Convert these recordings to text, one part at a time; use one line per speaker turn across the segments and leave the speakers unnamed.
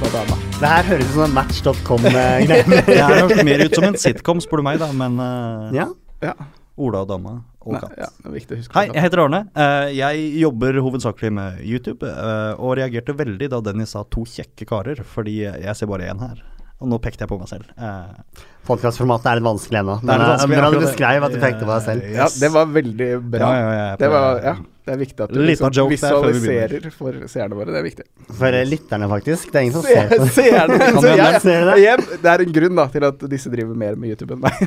på dama. Det her høres ut som en eh, match.com-greie.
Det her høres mer ut som en sitcom, spør du meg, da, men eh,
ja.
Ja.
Ola og dama og
Nei,
katt.
ja, det er viktig å huske
Hei,
på.
jeg heter Arne. Eh, Jeg jobber hovedsakelig med YouTube, eh, og reagerte veldig da Dennis sa to kjekke karer, fordi jeg ser bare én her. Og nå pekte jeg på meg selv. Eh,
Podcastformatet er litt vanskelig ennå.
det er
Men, eh,
litt vanskelig,
men han
akkurat det.
beskrev at du pekte på deg selv.
Ja, det var veldig bra.
Ja, ja, ja, jeg
det, var,
prøver-
ja, det er viktig at du
Liten
liksom
joke der før vi
visualiserer for seerne våre. Det er viktig.
For eh, lytterne, faktisk. Det er ingen som ser på
Se- Seerne
Kan
så
vi
jeg-
annonsere det?
jeg- Det er en grunn da til at disse driver mer med YouTube enn meg.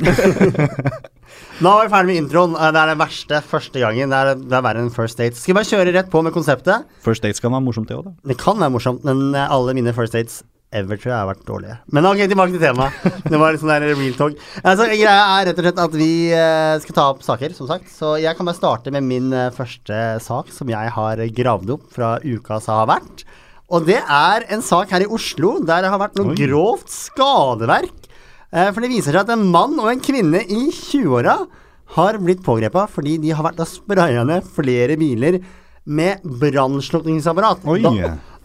Nå er vi ferdig med introen. Eh, Det er det verste første gangen. Det er, det er verre enn First Dates. Skal vi bare kjøre rett på med konseptet?
First Dates kan være morsomt, det òg, da.
Det kan være morsomt, men eh, alle mine First Dates ever tror jeg har vært dårlige. Men ok, tilbake til temaet. Det var litt sånn der real talk. Altså, greia er rett og slett at vi eh, skal ta opp saker, som sagt. Så jeg kan bare starte med min eh, første sak som jeg har gravd opp fra uka som har vært. Og det er en sak her i Oslo der det har vært noe
Oi.
grovt skadeverk. Eh, For det viser seg at en mann og en kvinne i 20-åra har blitt pågrepet fordi de har vært og spraya ned flere biler med brannslukningsapparat.
Oi.
Da,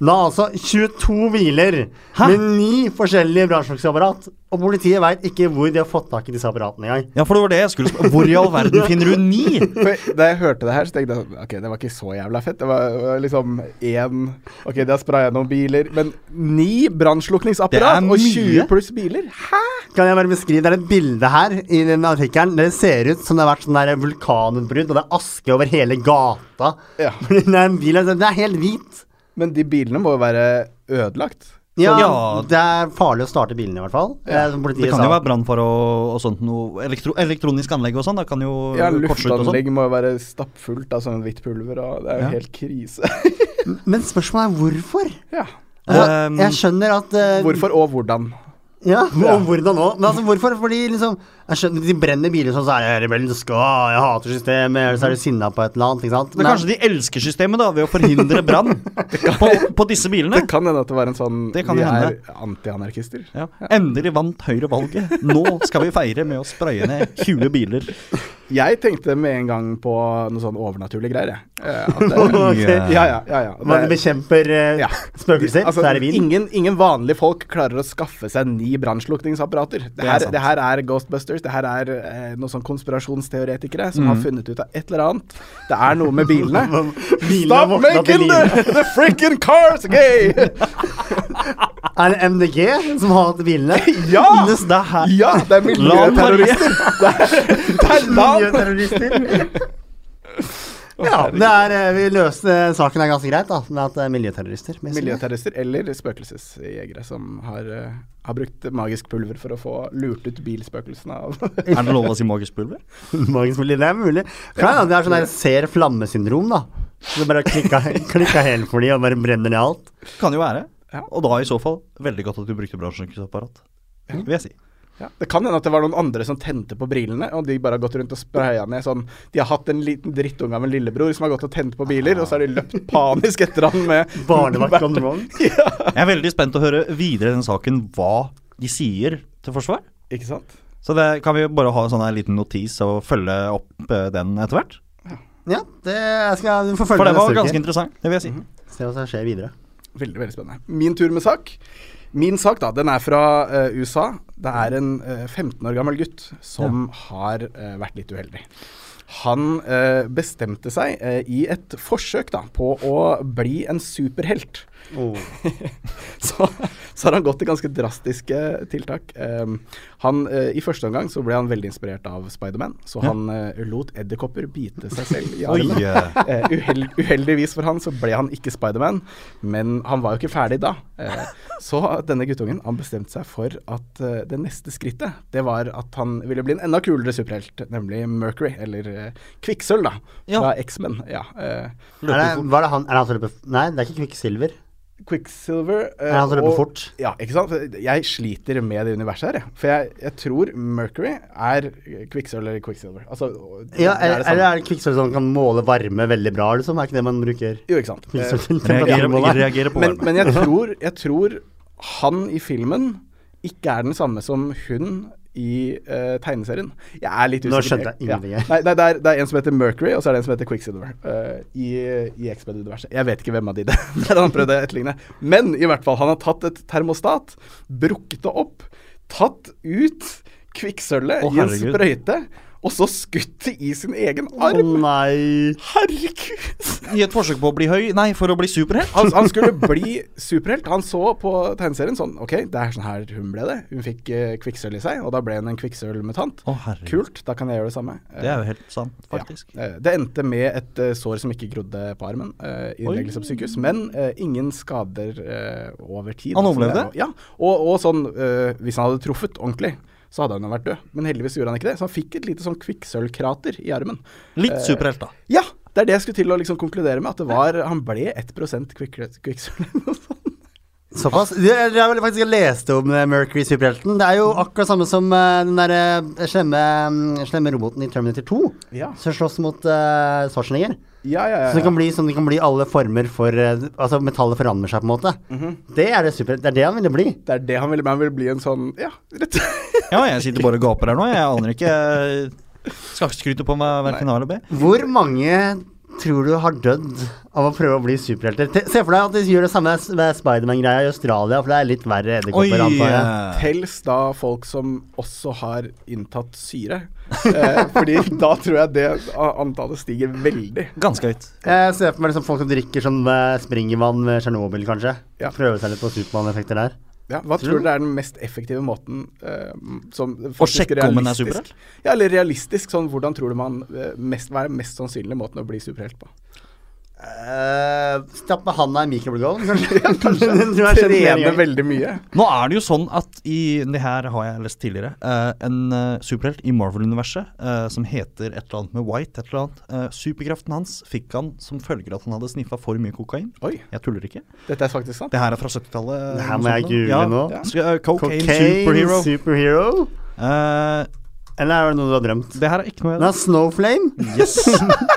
da altså 22 biler med ni forskjellige brannslukningsapparat. Og politiet veit ikke hvor de har fått tak i disse apparatene engang.
Ja, for det var det jeg skulle spørre. Hvor i all verden finner du ni?
For da jeg hørte det her, så tenkte jeg sånn, ok, det var ikke så jævla fett. Det var var liksom én Ok, de har spraya noen biler, men ni
Det
brannslukningsapparat
er
og
mye.
20 pluss biler? Hæ?
Kan jeg bare beskrive, Det er et bilde her i den artikkelen. Det ser ut som det har vært sånn der vulkanutbrudd, og det er aske over hele gata.
Ja.
Det er en bil, den er helt hvit.
Men de bilene må jo være ødelagt.
Ja,
Ja.
det er farlig å starte bilen i hvert fall. Eh, som
Det
politiet
kan jo
sa.
være brannfare og, og sånt noe. Elektro, elektronisk anlegg og sånn, da kan jo
Ja,
kortslutte og sånn.
Luftanlegg må jo være stappfullt av sånn hvitt pulver, og det er jo
Ja.
helt krise.
Men spørsmålet er hvorfor?
ja.
Altså,
Um,
jeg skjønner at eh,
Hvorfor og hvordan?
Ja,
Ja.
og hvordan òg. Men altså, hvorfor? Fordi liksom jeg skjønner, De brenner biler sånn, så er jeg rebelsk, og jeg hater systemet, eller så er du sinna på et eller annet. ikke sant?
Men kanskje de elsker systemet, da, ved å forhindre brann på, på disse bilene.
Det kan hende at det var en sånn
Det kan
Vi er
hende.
antianarkister.
Ja. Endelig vant Høyre valget. Nå skal vi feire med å spraye ned 20 biler.
Jeg tenkte med en gang på noe sånn overnaturlige greier, jeg. Eh, at det-
Ok.
Mye-
Ja, ja, ja. ja.
Man bekjemper eh,
Ja.
spøkelser,
altså,
så er det vin.
ingen, ingen vanlige folk klarer å skaffe seg ni brannslukningsapparater. Det,
er
her-
sant.
det her er Ghostbusters, det her er eh, noen sånn konspirasjonsteoretikere som har funnet ut av et eller annet. Det er noe med bilene.
Bilen har
Stop
våkna til
making
liv.
the, the freaking cars gay!
Er det MDG som har hatt bilene?
Ja!
Ines, det er her.
Ja, det er miljøterrorister. Det er, det er land.
Miljøterrorister. Ja, det er, eh, vi løste saken er ganske greit, da, med at det er miljøterrorister. men jeg synes det.
Miljøterrorister eller spøkelsesjegere som har, eh, har brukt magisk pulver for å få lurt ut bilspøkelsene av
Er det lov å si magisk pulver?
Magisk mulig, det er mulig. Kan hende at det er sånn der ser flammesyndrom, da. Så det bare klikka, klikka helt for de og bare brenner ned alt.
Kan jo være.
Ja.
Og da i så fall veldig godt at du brukte bransjeapparat, vil jeg si.
ja. Det kan hende at det var noen andre som tente på brillene, og de bare har gått rundt og spraya ned sånn De har hatt en liten drittunge av en lillebror som har gått og tent på biler, og så har de løpt panisk etter han med
Ah. Barnevakt gone wrong.
Jeg er veldig spent å høre videre i den saken hva de sier til forsvar.
Ikke sant?
Så det kan vi bare ha en sånn her liten notis og følge opp eh, den etter hvert.
Ja, det skal du får
For
følge
det var
med
ganske
neste uke.
interessant, det vil jeg si.
Mhm.
Se hva som skjer videre.
Veldig, veldig spennende. Min tur med sak. Min sak da, den er fra eh, USA. Det er en eh, 15 år gammel gutt som har eh, vært litt uheldig. Han eh, bestemte seg eh, i et forsøk da, på å bli en superhelt.
Oh,
så, så har han gått til ganske drastiske tiltak. Ehm, han, eh, I første omgang så ble han veldig inspirert av Spiderman, så han eh, lot edderkopper bite seg selv i
Oi,
armen.
eh,
Eh, uheld, uheldigvis for han så ble han ikke Spiderman, men han var jo ikke ferdig da. Eh, så denne guttungen han bestemte seg for at eh, det neste skrittet det var at han ville bli en enda kulere superhelt, nemlig Mercury, eller eh, Kvikksølv, da.
Ja.
Fra X-Men. Ja. Eh,
Er det, var det han, er det han som løper f- Nei, det er ikke kvikksilver.
Quicksilver eh,
Er det han som løper
og-
fort?
Ja, ikke sant? For Jeg sliter med det universet her, jeg. For jeg, jeg tror Mercury er Quicksilver eller Quicksilver. Altså,
Ja,
det
eller
det
er,
samme.
det- er det kvikksølv som kan måle varme veldig bra, liksom? Er ikke det man bruker?
Jo, ikke sant. Eh,
Kvikksølv til
Reagerer,
temperaturmåler?
reagerer på
Men,
varme.
men jeg, tror, jeg tror han i filmen ikke er den samme som hun i eh, tegneserien. Jeg er litt
Nå
usikker.
skjønte jeg ingenting her.
Nei, nei, det, er, det er en som heter Mercury, og så er det en som heter Quicksilver. eh, I i X-Men-universet. Jeg vet ikke hvem av de det det er. Han prøvde å etterligne. Men i hvert fall, han har tatt et termostat, brukket det opp, tatt ut kvikksølvet
Å,
i en
herregud.
sprøyte, og så skutt det i sin egen
Å
arm.
nei.
Herregud!
I et forsøk på å bli høy Nei, for å bli superhelt.
Han, han skulle bli superhelt. Han så på tegneserien sånn Ok, det er sånn her hun ble det. Hun fikk eh, kvikksølv i seg, og da ble hun en kvikksølvmutant.
Å, herregud.
Kult, da kan jeg gjøre det samme. Eh,
Det er jo helt sant, faktisk.
ja. Eh, Det endte med et eh, sår som ikke grodde på armen, eh, innleggelse på sykehus. Men eh, ingen skader eh, over tid.
Han
Så det
overlevde?
er jo- Ja. Og, og sånn, eh, hvis han hadde truffet ordentlig, så hadde han jo vært død. Men heldigvis gjorde han ikke det, så han fikk et lite sånn kvikksølvkrater i armen.
Litt
Eh,
superhelt, da.
Ja, det er det jeg skulle til å liksom konkludere med. At det var, han ble 1 kvikksølv. eller noe sånt.
Såpass. Det er, det er vel faktisk jeg leste om eh, Mercury superhelten. Det er jo akkurat samme som eh, den derre eh, slemme, mm, slemme roboten i Terminator 2
Ja.
som slåss mot uh, Schwarzenegger.
Ja, ja, ja.
Så det kan, bli, sånn, det kan bli alle former for eh, Altså, metallet forandrer seg, på en måte. Det er det super, det er det han ville bli.
Mhm. Det er det han ville bli. Han ville bli en sånn Ja, rett
Ja, jeg sitter bare og gaper her nå. Jeg aner ikke. Jeg Skal ikke skryte på meg verken A eller B.
Hvor mange tror du har dødd av å prøve å bli superhelter? Te- Se for deg at de gjør det samme s- med Spiderman-greia i Australia, for det er litt verre edderkopper, antar jeg.
eh,
Tels da folk som også har inntatt syre. Eh, fordi da tror jeg det a- antallet stiger veldig.
Ganske høyt.
Jeg ser for meg liksom folk som drikker sånn eh, springervann med Tsjernobyl, kanskje.
Ja.
Prøve seg litt på Supermann-effekter der.
Ja, hva tror dere er den mest effektive måten eh, som faktisk
sjekke om en er
realistisk-
superhelt?
Ja, eller realistisk. Sånn, hvordan tror du man eh, mest, Hva er den mest sannsynlige måten å bli superhelt på?
Uh, Stapp med handa i mikrobølgeovn, kanskje. kanskje. Du er
Trene
sjenerende.
veldig mye.
Nå er det jo sånn at i Det her har jeg lest tidligere. eh, en eh, superhelt i Marvel-universet eh, som heter et eller annet med White. et eller annet. Eh, superkraften hans fikk han som følge av at han hadde sniffa for mye kokain.
Oi,
Jeg tuller ikke.
dette er faktisk sant.
Det her er fra 70-tallet.
Det
eller
her
noe
må jeg
sånt
google nå.
Ja. Skal- eh, cocaine,
Cocaine
superhero.
superhero.
Eh,
Eller er det noe du har drømt?
det her er ikke noe jeg
Den er Snowflame.
Yes!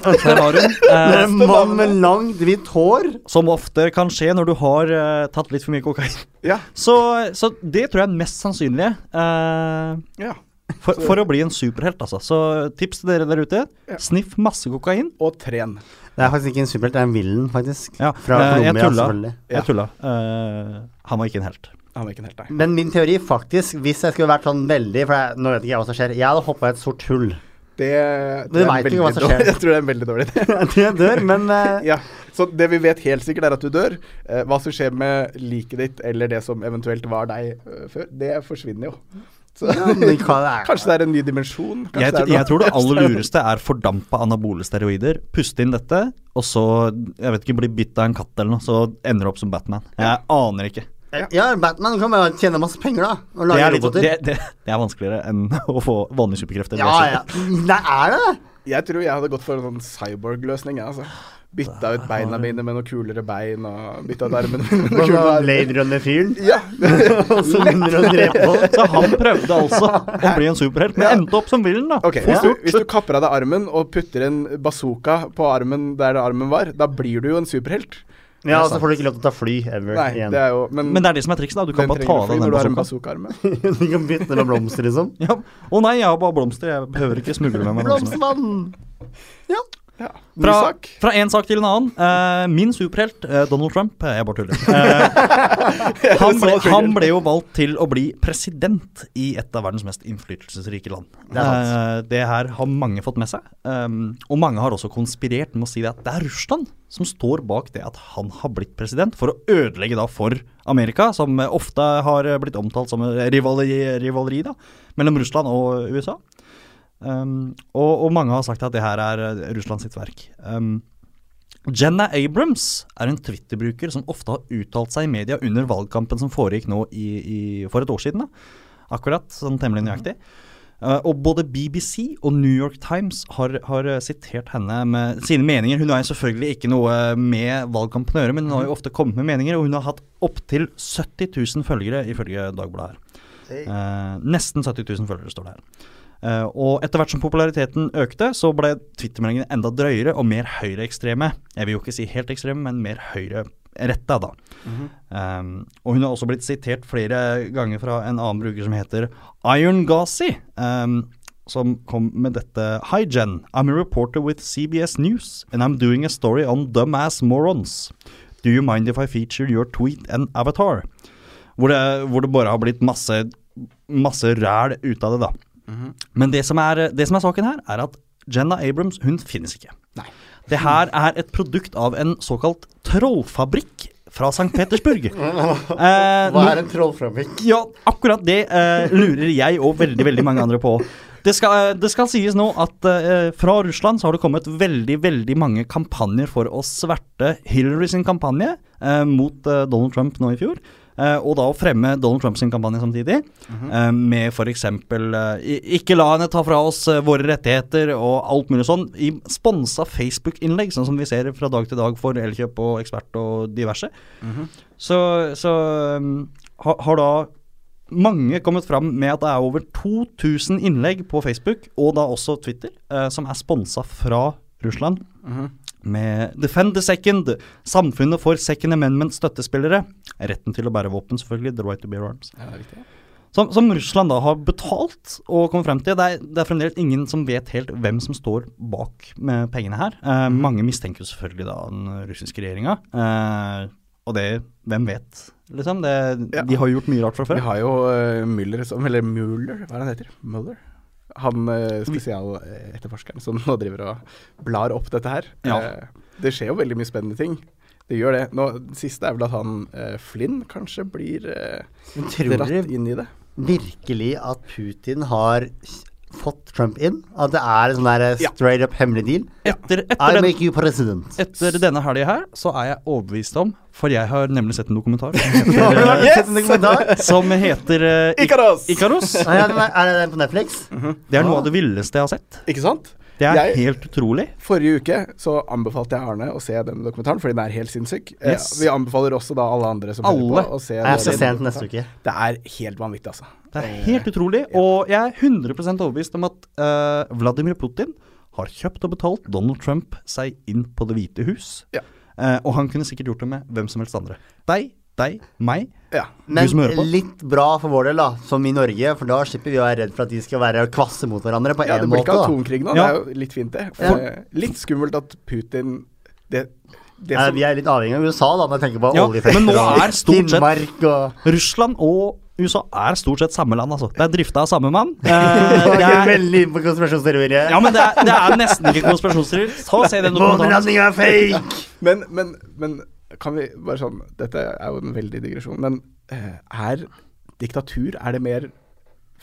Der har hun.
Det er
Eh,
en mann med langt, hvitt hår.
som ofte kan skje når du har eh, tatt litt for mye kokain.
Ja,
Så, så det tror jeg er mest sannsynlige. eh,
ja.
for, for å bli en superhelt, altså. Så tips til dere der ute.
Ja.
Sniff masse kokain.
Og tren.
Det er faktisk ikke en superhelt, det er en villen, faktisk.
Ja,
Fra
eh, jeg
Colombia,
tulla.
selvfølgelig.
Ja.
Jeg tulla. Eh, han var ikke en helt.
Han var ikke en helt, nei.
Men min teori, faktisk, hvis jeg skulle vært sånn veldig For jeg, nå vet ikke jeg hva som skjer. Jeg hadde hoppa i et sort hull.
Det,
Men du vet ikke hva som skjer.
Jeg tror det er en veldig dårlig idé.
Jeg dør, men eh,
ja. Så det vi vet helt sikkert, er at du dør. Eh, hva som skjer med liket ditt, eller det som eventuelt var deg eh, før, det forsvinner jo. Så
ja, men hva-
kanskje det er en ny dimensjon. Kanskje
Jeg, tr-
det er noe-
jeg tror det aller lureste er fordampa anabole steroider. Puste inn dette, og så jeg vet ikke, bli bitt av en katt eller noe, så ender du opp som Batman. Jeg aner ikke.
Ja, Batman kan bare tjene masse penger, da. Og
Det
lage
er, litt,
roboter.
det, det, det er vanskeligere enn å få vanlige superkrefter.
ja, ja. Nei, er det det?
Jeg tror jeg hadde gått for en sånn cyborg-løsning. jeg, Altså. Bytta ut beina mine med noen kulere bein, og bytta ut armene mine med noen kulere armer.
Blade Runner-fyren.
Ja.
Og så begynner han å drepe folk.
Så han prøvde altså å bli en superhelt, men endte opp som villen, da.
Ok, hvis, du, hvis du kapper av deg armen og putter en bazooka på armen der armen var, da blir du jo en superhelt.
Ja, og så får du ikke lov til å ta fly ever
Nei,
igjen.
det er jo Men,
Men det er det som er trikset, da. Du kan
den
bare ta
trenger du
av deg
fordi
den
når du har en
bazookaen.
bazookaarme.
Du kan bytte med blomster, liksom.
Ja. Å nei, jeg har bare blomster. Jeg behøver ikke smugle med meg noe som helst.
Blomstermann! Ja.
Ja.
Fra,
Isak,
fra en sak til en annen. Eh, min superhelt, eh, Donald Trump eh, Jeg bare tuller. Eh, han, ble, han ble jo valgt til å bli president i et av verdens mest innflytelsesrike land.
Det er sant.
Eh, det her har mange fått med seg. Um, og mange har også konspirert med å si det at det er Russland som står bak det at han har blitt president, for å ødelegge da for Amerika, som eh, ofte har eh, blitt omtalt som eh, rivaleri, rivaleri da, mellom Russland og USA. Um, og, og mange har sagt at det her er eh, Russland sitt verk. Um, Jenna Abrams er en Twitter-bruker som ofte har uttalt seg i media under valgkampen som foregikk nå i, i, for et år siden. Da. Akkurat, sånn temmelig nøyaktig. Eh, og både BBC og New York Times har, har eh, sitert henne med sine meninger. Hun har jo selvfølgelig ikke noe eh, med valgkampen å gjøre, men hun har jo ofte kommet med meninger, og hun har hatt opptil 70 000 følgere, ifølge Dagbladet her. Eh, nesten 70 000 følgere står det her. Eh, og etter hvert som populariteten økte, så ble Twitter-meldingene enda drøyere og mer høyreekstreme. Jeg vil jo ikke si helt ekstreme, men mer høyre retta, da. Um, og hun har også blitt sitert flere ganger fra en annen bruker som heter Iron Ghazi, um, som kom med dette. Hi Jen, I'm a reporter with CBS News, and I'm doing a story on dumbass morons. Do you mind if I feature your tweet and avatar? Hvor det, hvor det bare har blitt masse, masse ræl ut av det, da. Men det som, er, det som er saken her, er at Jenna Abrams hun finnes ikke. Det her er et produkt av en såkalt trollfabrikk fra St. Petersburg. Eh,
Hva er en trollframvik?
ja, akkurat det eh, lurer jeg og veldig, veldig mange andre på. Det skal, eh, det skal sies nå at eh, fra Russland så har det kommet veldig, veldig mange kampanjer for å sverte Hillary sin kampanje eh, mot eh, Donald Trump nå i fjor. Eh, og da å fremme Donald Trump sin kampanje samtidig, eh, med f.eks. Eh, 'ikke la henne ta fra oss eh, våre rettigheter' og alt mulig sånn, i sponsa Facebook-innlegg, sånn som vi ser fra dag til dag for Elkjøp og Ekspert og diverse. Så, så um, ha, har da mange kommet fram med at det er over 2000 innlegg på Facebook, og da også Twitter, eh, som er sponsa fra Russland.
Mhm.
Med Defend the Second, Samfunnet for Second Amendment-støttespillere. Retten til å bære våpen, selvfølgelig. The right to bear arms.
Ja, det er riktig.
Som, som Russland da har betalt og kommet frem til. Det er, det er fremdeles ingen som vet helt hvem som står bak med pengene her. Eh,
Mm.
mange mistenker jo selvfølgelig da den russiske regjeringa. Eh, og det Hvem vet, liksom? Det,
Ja.
De har gjort mye rart fra
Vi
før.
har jo eh, Müller som Eller Mueller, hva er det han heter? Mueller? Han eh, spesialetterforskeren som nå driver og blar opp dette her.
Ja.
Eh, det skjer jo veldig mye spennende ting. Det gjør det. Nå, det siste er vel at han eh, Flynn kanskje blir eh,
Men tror dere
dratt inn i det.
virkelig at Putin har s- fått Trump inn? At det er en sånn der eh,
Ja.
straight up hemmelig deal?
Etter, etter,
I
den,
make you president.
etter denne helga her, så er jeg overbevist om For jeg har nemlig sett en dokumentar som
Har
heter,
du
eh,
sett en dokumentar?
som heter eh, Ik-
Ikaros!
Ikaros.
Ah, ja, den Er er det den på Netflix?
Det er noe av det villeste jeg har sett.
Ikke sant?
Det er
Jeg-
helt utrolig.
Forrige uke så anbefalte jeg Arne å se den dokumentaren, fordi den er helt sinnssyk. Eh,
Yes.
Vi anbefaler også da alle andre som
Alle.
hører på, å se
Jeg skal
den
se den til neste uke.
Det er helt vanvittig, altså.
Det er helt utrolig, og jeg er 100 overbevist om at eh, Vladimir Putin har kjøpt og betalt Donald Trump seg inn på Det hvite hus.
Ja.
Eh, og han kunne sikkert gjort det med hvem som helst andre. Deg, deg, meg.
Ja.
som hører på.
Men litt bra for vår del, da, som i Norge. For da slipper vi å være redd for at de skal være kvasse mot hverandre på en
ja, det
måte.
blir ikke
da.
atomkrig nå, det
Ja.
er jo litt fint, det.
Ja.
Eh, Litt skummelt at Putin Det, det
Nei,
som
vi er litt avhengig av USA, da, når jeg tenker på
Ja, men nå
oljefelter
er stort sett-
Finnmark og
Russland og USA er stort sett samme land, altså. Det er drifta av samme mann. Eh,
Nå er
det
jeg
er,
veldig inne på konspirasjonsteorier.
ja, men det er, det er nesten ikke konspirasjonsteorier. Ta og se den dokumentaren.
Månelandinga er fake!
men, men, men kan vi bare sånn Dette er jo en veldig digresjon, men eh, er diktatur Er det mer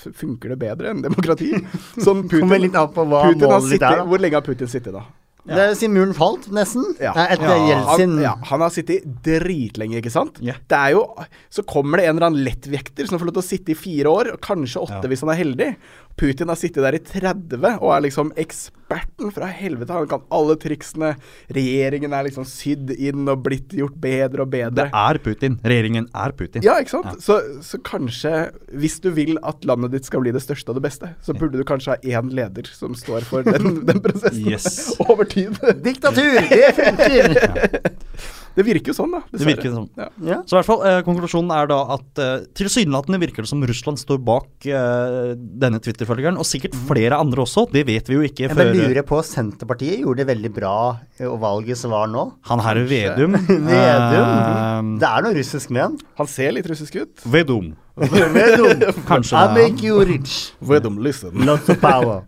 f- Funker det bedre enn demokrati? Sånn Putin,
Kommer litt an på hva
Putin har
målet ditt
sittet,
er, da.
Hvor lenge har Putin sittet, da?
Det er siden muren falt, nesten.
Ja.
Nei, Etter
Ja.
Jeltsin.
Han, ja, han har sittet dritlenge, ikke sant?
Ja.
Det er jo, så kommer det en eller annen lettvekter som får lov til å sitte i fire år, og kanskje åtte
Ja.
hvis han er heldig. Putin har sittet der i 30 og er liksom eksperten fra helvete. Han kan alle triksene. Regjeringen er liksom sydd inn og blitt gjort bedre og
Det
bedre.
altså, er Putin. Regjeringen er Putin.
Ja, ikke sant? Så, så kanskje, hvis du vil at landet ditt skal bli det største og det beste, så burde du kanskje ha én leder som står for den, den prosessen
Yes.
over tid.
Diktatur! Det funker!
Det virker jo sånn, da.
Det virker
dessverre.
sånn.
Ja.
Ja.
Så i hvert fall, eh, Konklusjonen er da at eh, tilsynelatende virker det som Russland står bak eh, denne Twitter-følgeren, og sikkert flere andre også. Det vet vi jo ikke
Jeg bare
før eh,
lurer på Senterpartiet gjorde det veldig bra eh, og valget som var nå.
han herre Vedum. Ehm.
Vedum. Det er noe russisk med han.
Han ser litt russisk ut.
Eh, Vedum.
Vedum.
Kanskje
I
det er han.
make you rich.
Vedum, listen.
Lots of power.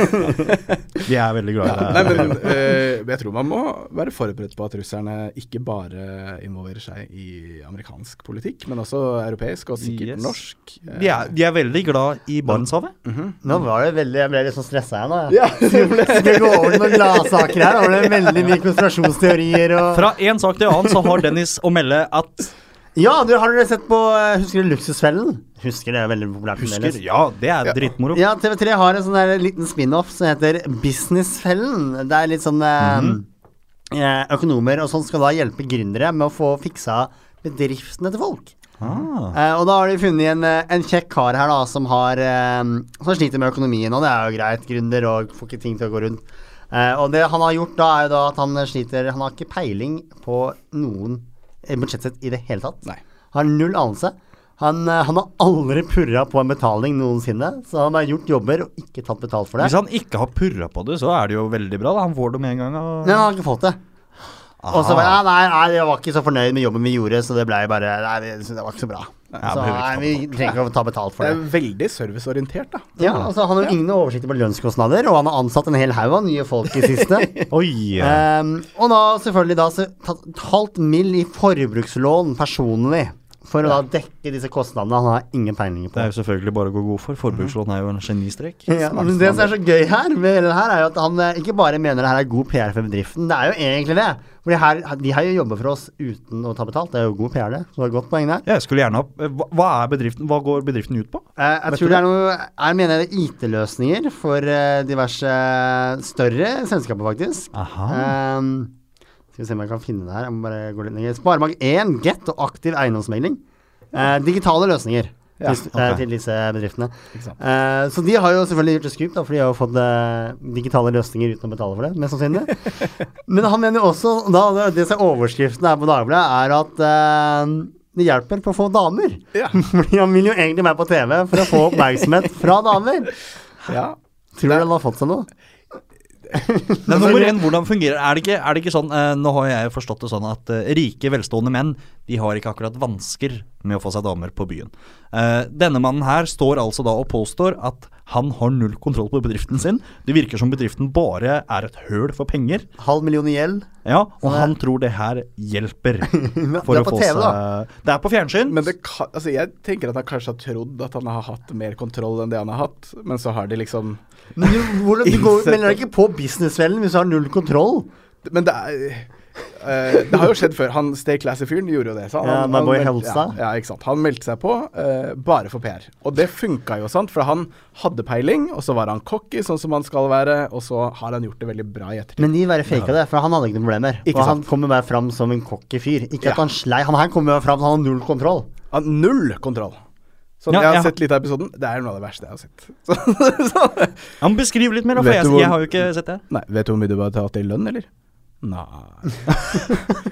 Vi er veldig glad i
Nei,
det.
men eh, jeg tror man må være forberedt på at russerne ikke bare involverer seg i amerikansk politikk, men også europeisk, og sikkert
Yes.
norsk. Eh,
De er, de er veldig glad i Barentshavet.
Nå var det veldig Jeg ble litt sånn stressa her nå. jeg.
Ja, det ble
Skal vi gå over til noen gladsaker her? Var det veldig mye konspirasjonsteorier og
Fra en sak til annen så har Dennis å melde at
Ja, du, har dere sett på eh, Husker du Luksusfellen? Husker det er veldig populært.
Husker,
fremdeles.
ja, det er dritmoro.
Ja, TV3 har en sånn der liten spin-off som heter Businessfellen. Det er litt sånn eh,
Mhm.
eh, Økonomer og sånn skal da hjelpe gründere med å få fiksa bedriftene til folk.
Ah.
Eh, og da har de funnet en, eh, en kjekk kar her da, som, har, eh, som sliter med økonomien, og det er jo greit, gründer, og får ikke ting til å gå rundt. Eh, og det han har gjort da, er jo da at han sliter Han har ikke peiling på noen eh, budsjettsett i det hele tatt.
Nei.
Har null anelse. Han, eh, han har aldri purra på en betaling noensinne, så han har gjort jobber og ikke tatt betalt for det.
Hvis han ikke har purra på det, så er det jo veldig bra. da Han får det med en gang. Og...
Men han har ikke fått det. Og så
Aha.
bare ja, nei, nei, jeg var ikke så fornøyd med jobben vi gjorde, så det ble bare Nei, vi synes det var ikke så bra.
Ja,
Så
blir
nei,
ikke
vi trenger ikke å ta betalt for
Det
det.
er veldig serviceorientert, da.
Ja, altså Han har jo ingen oversikt over lønnskostnader, og han har ansatt en hel haug av nye folk i siste.
Oi! eh,
Ehm, og da selvfølgelig da så tatt et halvt mill. i forbrukslån personlig for å da dekke disse kostnadene han har ingen peiling på.
Det er jo selvfølgelig bare å gå god for. Forbrukslån er jo en genistrek.
Ja, men det som er så gøy her, med hele det her, er jo at han eh, ikke bare mener det her er god PR for bedriften, det er jo egentlig det. For de, her, de har jo jobba for oss uten å ta betalt, det er jo god PR, det. Så det er et godt poeng der.
Jeg skulle gjerne ha eh, hva- Hva er bedriften? Hva går bedriften ut på?
Eh, jeg tror det er noe Jeg mener det er IT-løsninger for eh, diverse større selskaper, faktisk.
Aha.
Ah.
Ehm, skal vi se om jeg kan finne det her. Jeg må bare gå litt lenger. Sparebank1, Get og aktiv eiendomsmegling. Eh, digitale løsninger
Ja,
til, eh,
ok.
til disse bedriftene.
Ikke sant?
Eh, så de har jo selvfølgelig gjort et skup, da, for de har jo fått eh, digitale løsninger uten å betale for det, mest sannsynlig. Men han mener jo også, da, det- det som er overskriften her på Dagbladet, er at eh, det hjelper på å få damer.
Ja.
Fordi han vil jo egentlig være på TV for å få oppmerksomhet fra damer.
ja.
Tror du han har fått seg noe?
Det er nummer én, hvordan fungerer er det? Ikke, er det ikke sånn, eh, Nå har jeg forstått det sånn at eh, rike, velstående menn de har ikke akkurat vansker med å få seg damer på byen. Eh, denne mannen her står altså da og påstår at han har null kontroll på bedriften sin. Det virker som bedriften bare er et høl for penger.
Halv million i gjeld?
Ja, Og han tror det her hjelper. For
det er på TV, da.
Det er på fjernsyn.
Men det kan, altså jeg tenker at han kanskje har trodd at han har hatt mer kontroll enn det han har hatt, men så har de liksom
Men du, hvordan, du går, melder deg ikke på businessfellen hvis du har null kontroll.
Men det er eh, Det har jo skjedd før. Han Stay Classy-fyren gjorde jo det. sa han.
Ja,
Han-
my
han
boy
meldte-
Helstad.
Ja, ja, ikke sant. Han meldte seg på eh, bare for PR. Og det funka jo, sant. For han hadde peiling, og så var han cocky, sånn som han skal være, og så har han gjort det veldig bra i ettertid.
Men de bare faka det, for han hadde ikke noen problemer.
Ikke
og han kommer bare fram som en cocky fyr. Ikke
Ja.
at han slei, han her kommer bare fram, han har null kontroll.
Han har null kontroll. Sånn,
Ja,
jeg har
ja.
sett litt av episoden. Det er noe av det verste jeg har sett. Så, så,
Ja, men beskriv litt mer, da, for
Vet
jeg,
du hvor-
jeg har jo ikke sett det.
nei, vet du hvor mye du har tatt i lønn, eller? Nei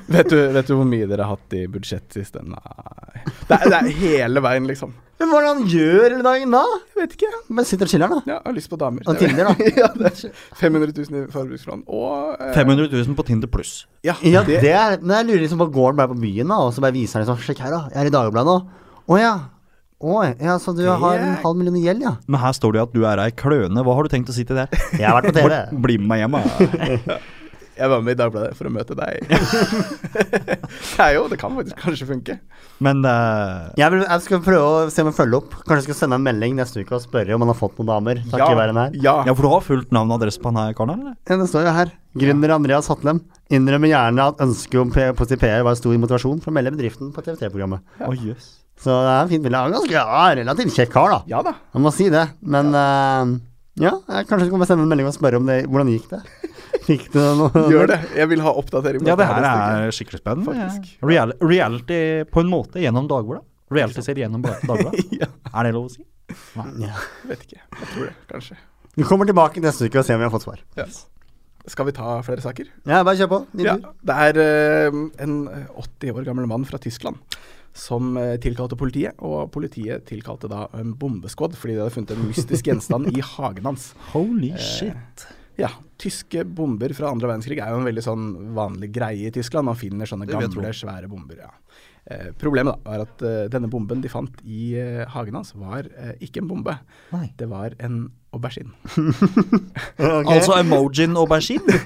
vet, du, vet du hvor mye dere har hatt i budsjett sist? Nei. Det er, det er hele veien, liksom.
Men hva er det han gjør hele dagen da?
Jeg vet ikke.
Han Bare sitter og chiller'n, da.
Ja, jeg har lyst på damer.
Og Tinder, da.
ja, det er 500 000 i forbrukslån. Og eh,
500 000 på Tinder pluss.
Ja,
Ja,
det,
det er, men jeg lurer liksom på Går han bare på byen, da, og så bare viser han liksom Sjekk her, da. Jeg er i Dagbladet nå. Å ja. Å ja, så du har en halv million i gjeld, ja.
Men her står det jo at du er ei kløne. Hva har du tenkt å si til det?
Jeg har vært på TV.
Bli med meg hjem, da.
Jeg var med i Dagbladet for å møte deg. det er jo Det kan faktisk kanskje funke.
Men eh,
Jeg, vil, jeg skal prøve å se om jeg følger opp. Kanskje jeg skal sende en melding neste uke og spørre om han har fått noen damer. Takk i verden her.
ja.
Ja, for du har fulgt navn og adresse på han her karen, eller?
Ja, det står jo her. Gründer Andreas Hatlem innrømmer gjerne at ønsket om P- positiv PR var stor motivasjon for å melde bedriften på TV3-programmet.
Å, jøs.
Så det er en fin bilde. Han er Ganske ja, relativt kjekk kar, da.
ja da.
Han må si det. Men eh, ja, jeg kanskje skal bare sende en melding og spørre om det, hvordan gikk det Fikk du noe
Gjør det. Jeg vil ha oppdatering. på
Ja, det
dette
her
neste uke.
er skikkelig spennende.
Faktisk.
Ja. Real, reality på en måte gjennom Dagbladet. Reality-serie gjennom Dag- Dagbladet.
Ja.
Er det lov å si?
Ja.
Vet ikke. Jeg tror det, kanskje.
Vi kommer tilbake neste uke og ser om vi har fått svar.
Ja. Skal vi ta flere saker?
Ja, bare kjør på. Din
Ja.
tur.
Det er eh, en 80 år gammel mann fra Tyskland som eh, tilkalte politiet. Og politiet tilkalte da en bombeskudd fordi de hadde funnet en mystisk gjenstand i hagen hans.
Holy
Eh,
shit.
Ja, tyske bomber fra andre verdenskrig er jo en veldig sånn vanlig greie i Tyskland. Man finner sånne
Det vil jeg
gamle, svære bomber. ja. Eh, problemet da, var at eh, denne bomben de fant i eh, hagen hans, var eh, ikke en bombe.
Nei.
Det var en aubergine.
Ok.
Altså emojien aubergine?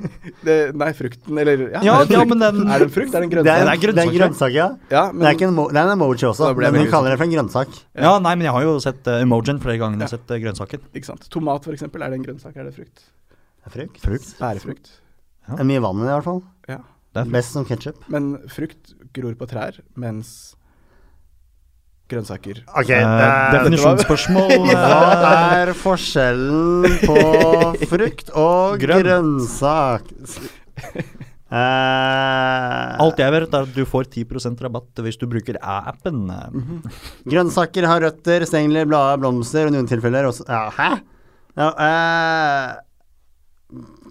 Det, nei, frukten, eller
Ja,
er det en
ja,
frukt?
men den-
Er det en frukt? Er det en
det er,
grønnsak?
det er
en- det er en grønnsak,
grønnsak,
ja.
Ja,
Det er,
men
ikke en mo det er en emoji også,
Da ble jeg
men hun
veldig
kaller det for en grønnsak.
Ja, nei, men jeg har jo sett eh, emojien flere ganger enn jeg har
Ja.
sett eh, grønnsaken.
ikke sant. Tomat, for eksempel. Er det en grønnsak? Er det frukt?
Det er frukt.
Frukt.
Bærefrukt.
Det er mye vann i det, i hvert fall.
Ja.
Det er frukt.
Best som ketsjup.
Men frukt gror på trær, mens grønnsaker
Ok,
Eh, definisjonsspørsmål. eh,
Hva er forskjellen på frukt og
Grønn.
grønnsak? Eh,
Alt jeg vet, er at du får 10 rabatt hvis du bruker eh. æ-appen.
grønnsaker har røtter, stengler, blader, blomster og i noen tilfeller også ja, Hæ? Ja, eh,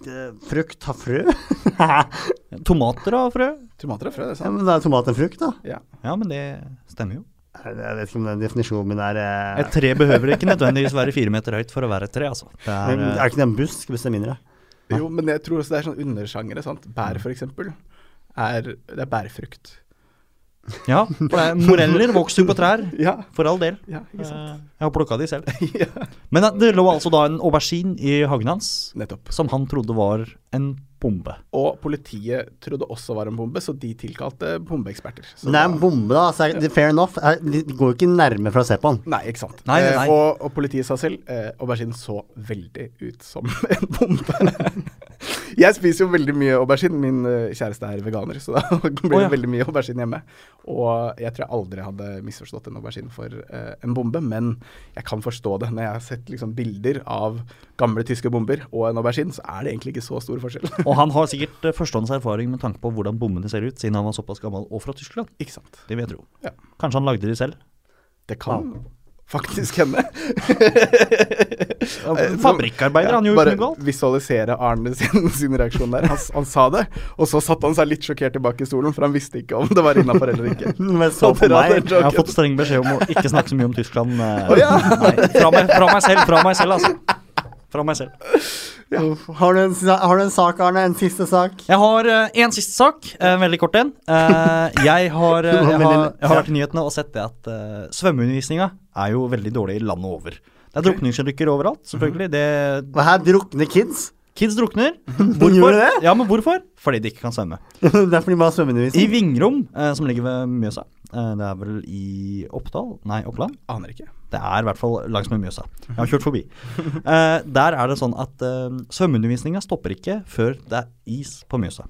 det- frukt har frø?
Tomater og frø?
Tomater er frø, det er
Ja,
sant.
men da er tomat en frukt, da.
Ja.
Ja, men det stemmer jo.
Jeg vet ikke om den definisjonen min er eh,
Et tre behøver ikke nødvendigvis være fire meter høyt for å være et tre, altså. Det
men
er,
Er
eh,
ikke det en busk hvis det er mindre?
Jo, men jeg tror også det er sånn undersjangere. sant? Bær, for eksempel, er, det er bærfrukt.
ja, for det er moreller vokser jo på trær,
Ja,
for all del.
ja ikke sant.
Eh, Jeg har plukka de selv.
Ja.
Men det lå altså da en aubergine i hagen hans
Nettopp.
som han trodde var en bombe.
Og politiet trodde også var en bombe, så de tilkalte bombeeksperter. Så
Men det er en
da-
bombe, da. Så er, det- fair enough. Er, de går jo ikke nærme for å se på den.
Nei, ikke sant.
Nei, nei, nei.
Eh, og, og politiet sa selv eh, aubergine så veldig ut som en bombe. jeg spiser jo veldig mye aubergine. Min eh, kjæreste er veganer, så da blir det
Å, ja.
veldig mye aubergine hjemme. Og jeg tror jeg aldri hadde misforstått en aubergine for eh, en bombe, men jeg kan forstå det. Når jeg har sett liksom, bilder av gamle tyske bomber og en aubergine, så er det egentlig ikke så stor forskjell.
Og han har sikkert eh, førstehånds erfaring med tanke på hvordan bommene ser ut, siden han var såpass gammel og fra Tyskland.
ikke sant.
Det vil jeg tro.
Ja.
Kanskje han lagde de selv.
Det kan faktisk hende.
Eh, Fabrikkarbeider,
Ja,
han gjorde
bare
ikke noe galt.
visualisere Arne sin, sin reaksjon der. Han, s- han sa det, og så satte han seg litt sjokkert tilbake i stolen, for han visste ikke om det var innafor eller ikke.
Men så
Og
på
dere hadde en
meg.
joke.
Jeg har fått streng beskjed om å ikke snakke så mye om Tyskland. eh,
Å, ja.
Nei, fra meg, fra meg selv, fra meg selv, altså. Fra meg selv.
Uff. Har, du en, sa- har du en sak, Arne? En siste sak?
Jeg har én siste sak, eh, veldig kort en. Eh, jeg, har, eh, jeg, har, jeg har vært i nyhetene og sett det at uh, svømmeundervisninga er jo veldig dårlig landet over. Det er drukningsulykker overalt, selvfølgelig. Det,
Hva her? Drukne kids?
kids drukner.
Gjorde det?
Ja, men hvorfor? Fordi de ikke kan svømme.
det er fordi man har
I
svømmeundervisning.
Vingrom, eh, som ligger ved Mjøsa, eh, det er vel i Oppdal? Nei, Oppland?
Aner ikke.
Det er i hvert fall langsmed Mjøsa. Jeg har kjørt forbi. Eh, der er det sånn at eh, svømmeundervisninga stopper ikke før det er is på Mjøsa.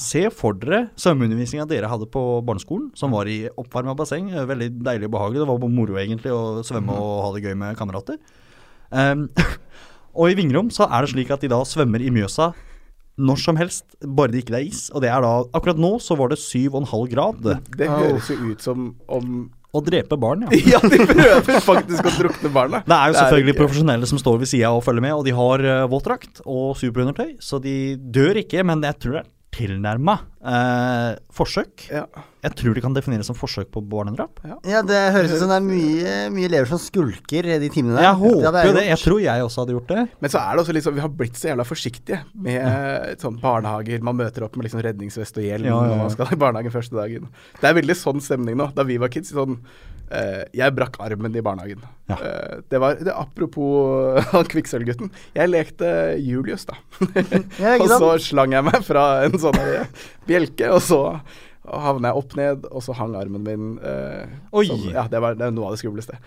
Se for dere svømmeundervisninga dere hadde på barneskolen, som var i oppvarma basseng. eh, Veldig deilig og behagelig. Det var bare moro egentlig å svømme og ha det gøy med kamerater. Ehm, og i Vingrom så er det slik at de da svømmer i Mjøsa når som helst, bare det ikke er is. Og det er da Akkurat nå så var det 7,5 grad.
Det høres jo ut som om
Å drepe barn, ja.
Ja, de prøver faktisk å drukne barna.
Det er jo selvfølgelig
ikke-
profesjonelle som står ved sida og følger med, og de har uh, våtdrakt og superundertøy, så de dør ikke, men jeg tror det er tilnærma eh, forsøk.
ja.
Jeg tror det kan defineres som forsøk på barnedrap.
Ja, det høres ut som det er mye, mye elever som skulker i de timene der.
Jeg håper
hadde
jo det.
gjort.
Jeg tror jeg også hadde gjort det.
Men så er det også litt sånn, vi har blitt så jævla forsiktige med eh, sånn barnehager. Man møter opp med liksom redningsvest og hjelm
Ja, ja, ja.
når man skal i barnehagen første dagen. Det er veldig sånn stemning nå. Da vi var kids, sånn eh, Jeg brakk armen i barnehagen.
Ja.
Eh, det var det, Apropos han kvikksølvgutten. Jeg lekte Julius, da.
Ja, ikke
og så
sant?
slang jeg meg fra en sånn her bjelke, og så havna jeg opp ned, og så hang armen min eh,
Oi.
Sånn, ja, det var, det er noe av det skumleste.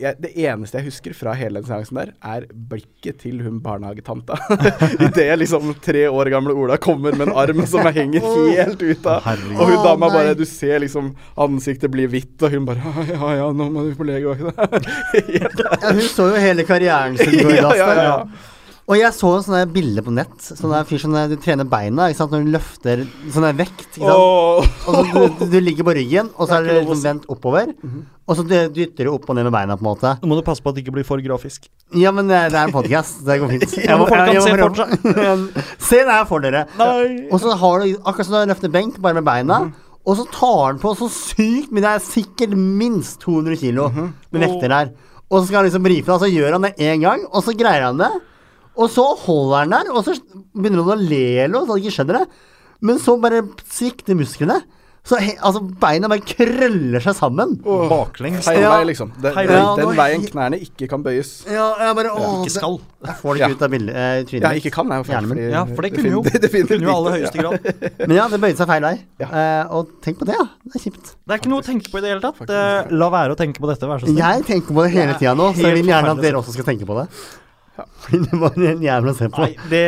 Jeg, det eneste jeg husker fra hele den seansen der, er blikket til hun barnehagetanta. Idet jeg liksom tre år gamle Ola kommer med en arm som jeg henger helt ut av.
herregud.
Og hun
Å,
dama
nei.
bare Du ser liksom ansiktet bli hvitt, og hun bare Ja, ja, ja nå må du på legevakta. Helt-
Ja, hun så jo hele karrieren sin gå i
Ja,
dass
ja,
der.
ja.
Og jeg så en sånn der bilde på nett. Sånn der fyr som eh, du trener beina ikke sant? når du løfter sånn der vekt. Ikke sant?
Åh.
Og så du, du ligger på ryggen, og så er
Det er
det
ikke lov å
liksom
si. Mhm.
vendt oppover. Og så dy- dytter du opp og ned med beina, på en måte.
Nå må du passe på at det ikke blir for grafisk.
Ja, men eh, det er en podkast. Det går fint.
Ja, men folk kan se for
Se det her for dere.
Nei. Mhm.
Og så har du akkurat som du løfter benk, bare med beina. Og så tar han på så sykt Men det er sikkert minst 200 kilo
Mhm.
med vekter der. Og så skal han liksom brife, og så gjør han det én gang, og så greier han det. Og så holder han der, og så begynner han å le eller noe, så han ikke skjønner det. Men så bare svikter musklene. Så he, altså, beina bare krøller seg sammen.
Baklengs.
Feil
Ja.
vei, liksom. Den,
Feil
den,
vei.
Ja, nå-
den veien knærne ikke kan bøyes.
Ja, jeg bare åh,
Ikke skal.
det- Jeg får det ikke
Ja.
ut av bildet, eh, trynet
Ja,
mitt.
ikke kan, jeg,
Hjernen min.
Ja, for det kunne jo,
defin- det definitivt
kunne jo alle
ikke.
høyeste grad.
Men ja, det bøyde seg feil vei.
Ja.
Eh, og tenk på det, ja. Det er kjipt.
Det er ikke noe å tenke på i det hele tatt.
Faktisk.
Eh, La være å tenke på dette, vær så snill.
Jeg tenker på det hele tida nå, så jeg
helt
vil gjerne at
forferdelig.
dere også skal tenke på det. Fordi det var en jævla å se på.
Nei, det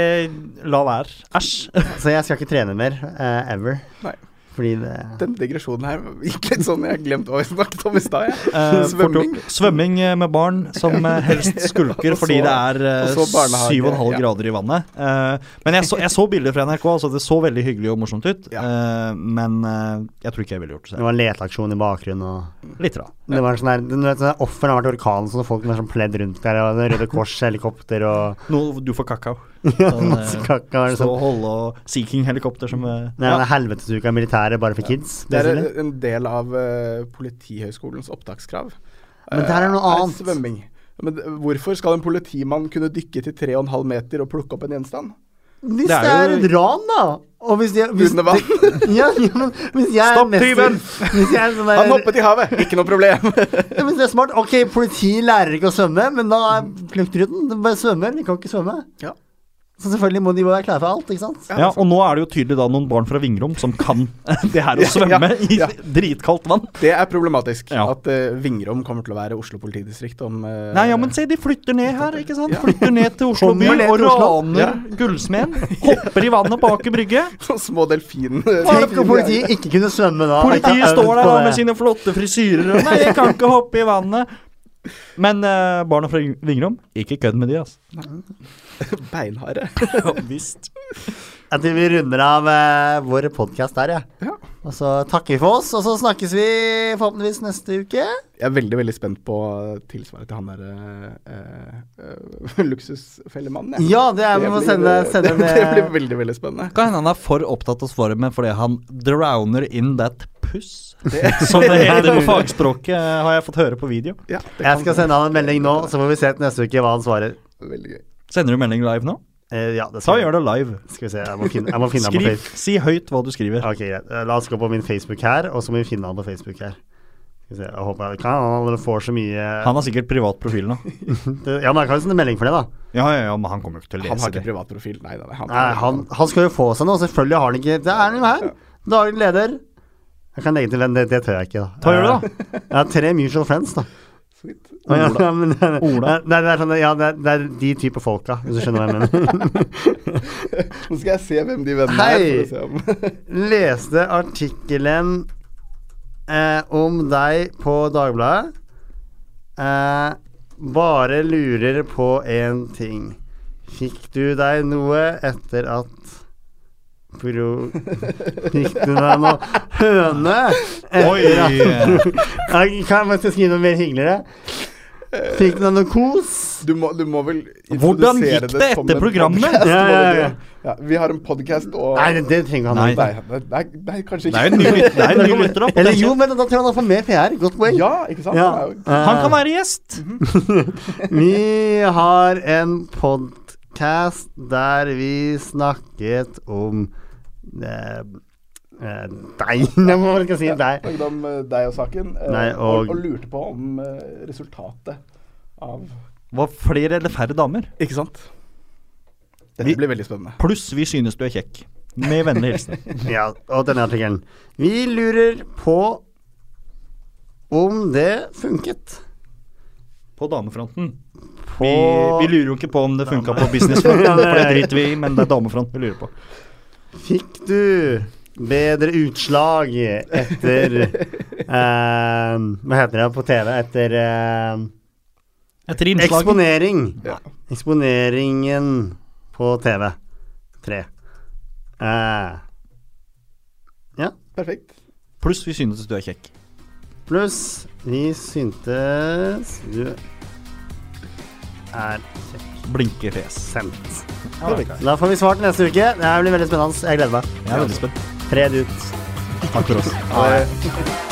La være. Æsj. Eh,
Så jeg skal ikke trene mer eh, ever.
Nei.
Fordi det
Den digresjonen her gikk litt sånn Jeg glemte hva vi snakket om i stad. jeg.
Eh,
Svømming.
fort gjort. Svømming eh, med barn som eh, helst skulker
Og så-
fordi det er eh,
og så barnehage,
7,5
ja.
grader i vannet. Eh, men jeg så, jeg så bilder fra NRK, altså det så veldig hyggelig og morsomt ut.
Ja.
Eh, men eh, jeg tror ikke jeg ville gjort det
det
selv.
var en leteaksjon i bakgrunnen og
Litt rann.
Det var en sånn der, du vet, sånn der offer har vært i orkanen, sånn folk med sånn pledd rundt der, og det Røde Kors, helikopter og
Nå, du får kakao.
masse
Sånn, eh,
kakka. og
Stå
Sånn.
og holde og Sea King-helikopter som eh,
Nei,
ja.
men helvetesuka i militæret bare for kids.
Det er
basically.
en del av eh, Politihøgskolens opptakskrav.
Men der er noe
Eh,
annet.
Svømming. Men d- hvorfor skal en politimann kunne dykke til 3,5 meter og plukke opp en gjenstand?
Hvis
Det
det
er
er,
jo-
et ran, da! Og hvis jeg, hvis
Under vann.
det- ja, ja, men hvis jeg er
Stopp
mester-
tyven!
Hvis jeg er sånn der,
Han hoppet i havet! Ikke noe problem.
Ja, men det er smart. Ok, politiet lærer ikke å svømme, men da er pluktruten De bare svømmer, de kan ikke svømme.
Ja.
Så selvfølgelig må de være klare for alt, ikke sant?
Ja, og nå er det jo tydelig da noen barn fra Vingrom som kan det her å
Ja,
svømme i
ja.
dritkaldt vann.
Det er problematisk
Ja.
at eh, Vingrom kommer til å være Oslo politidistrikt om eh,
Nei, ja, men se, de flytter ned her, ikke sant? Flytter ned til Oslo by
Kommer ned
og
til Oslo.
raner gullsmeden. Hopper i vannet bak i brygge.
sånne små delfin...
Tenk om politiet ikke kunne svømme da.
Politiet står der da med
sine
sine flotte frisyrer og Nei, jeg kan ikke hoppe i vannet. Men eh, barna fra Vingrom, ikke kødd med de, altså.
Beinharde.
Ja, visst.
Jeg tror vi runder av eh, vår podkast der, ja.
Ja.
Og så takker vi for oss, og så snakkes vi forhåpentligvis neste uke.
Jeg er veldig veldig spent på tilsvaret til han derre uh, luksusfellemannen. jeg.
Ja, det er vi må
blir-
sende, sende
det, det blir
en
veldig, veldig spennende.
Kan hende han er for opptatt av svaret fordi han drowner in that puss. Som det heter på fagspråket, har jeg fått høre på video.
Ja,
Jeg
det kan
skal
være
sende han en melding nå, så får vi se til neste uke hva han svarer.
Veldig gøy.
Sender du melding live nå?
Eh, ja, det
Ta
skal
og
vi.
gjør det live.
Skal vi se, jeg må finne, jeg må finne han på
Skriv,
Facebook.
si høyt hva du skriver.
Ok, greit. Eh, La oss gå på min Facebook her, og så må vi finne han på Facebook her. Skal vi se, jeg håper jeg kan han får så mye
Han har sikkert privat profil nå.
Ja, men jeg kan jo sende melding for det, da.
Ja, ja, ja, men han kommer jo ikke til å
Han
lese
har ikke
det.
privat profil. Nei, nei, nei, han,
Nei, han, han skal jo få seg noe, selvfølgelig har han ikke Det er han jo her! Daglig leder. Jeg kan legge til venn, det, det tør jeg ikke, da.
Hva gjør du,
da? Jeg har tre mutual friends, da.
Sweet.
Ja, ja, men,
Ola.
Nei, det er sånn, ja, det er, det er de type folka, hvis du skjønner hva jeg mener.
Nå skal jeg se hvem de vennene
Hei!
er. For å se om.
Leste artikkelen eh, om deg på Dagbladet. Eh, bare lurer på én ting. Fikk du deg noe etter at Pro... Fikk du deg noe høne?
Oi!
Etter at Jeg kan jeg skal skrive noe mer hyggeligere. Fikk du deg noe kos?
Du, må, du må vel
Hvordan
introdusere
gikk det
som
etter
en
programmet?
podcast,
Ja,
må du
ja,
gjøre.
ja.
Ja, vi har en podkast og
Nei, det, det trenger han
Nei.
ikke.
nei, nei, nei, nei,
Det
kanskje ikke.
er jo en ny, lyt- det er en ny lytter, da.
Eller
potensielt.
jo, men da tror jeg han får mer PR. Godt poeng.
Ja, ikke sant?
Ja.
Det er jo-
Han
Eh,
kan være gjest.
Vi har en podkast der vi snakket om eh, eh, deg Nei, hva skal jeg si? Deg.
snakket om eh, deg og saken, eh,
Nei, og-
og, og lurte på om eh, resultatet av
Var flere eller færre damer?
Ikke sant? Dette
Vi-
blir veldig spennende.
Pluss vi synes du er kjekk. Med vennlig hilsen.
Ja, og denne artikkelen. Vi lurer på om det funket.
På damefronten.
På
Vi, vi lurer jo ikke på om det funka på businessfronten,
Ja, nei.
for det driter vi i, men det er damefronten vi lurer på.
Fikk du bedre utslag etter eh, Hva heter det på TV? Etter eh,
Etter innslaget
Eksponering.
Ja.
Eksponeringen på TV3. Eh,
Perfekt.
Pluss vi synes du er kjekk.
pluss vi syntes du er
Blinkefjes.
sendt.
Ja, det er
Da får vi svar til neste uke. Det her blir veldig spennende. Jeg gleder meg.
Jeg er veldig spent.
Fred ut.
Takk for oss.
Ha det.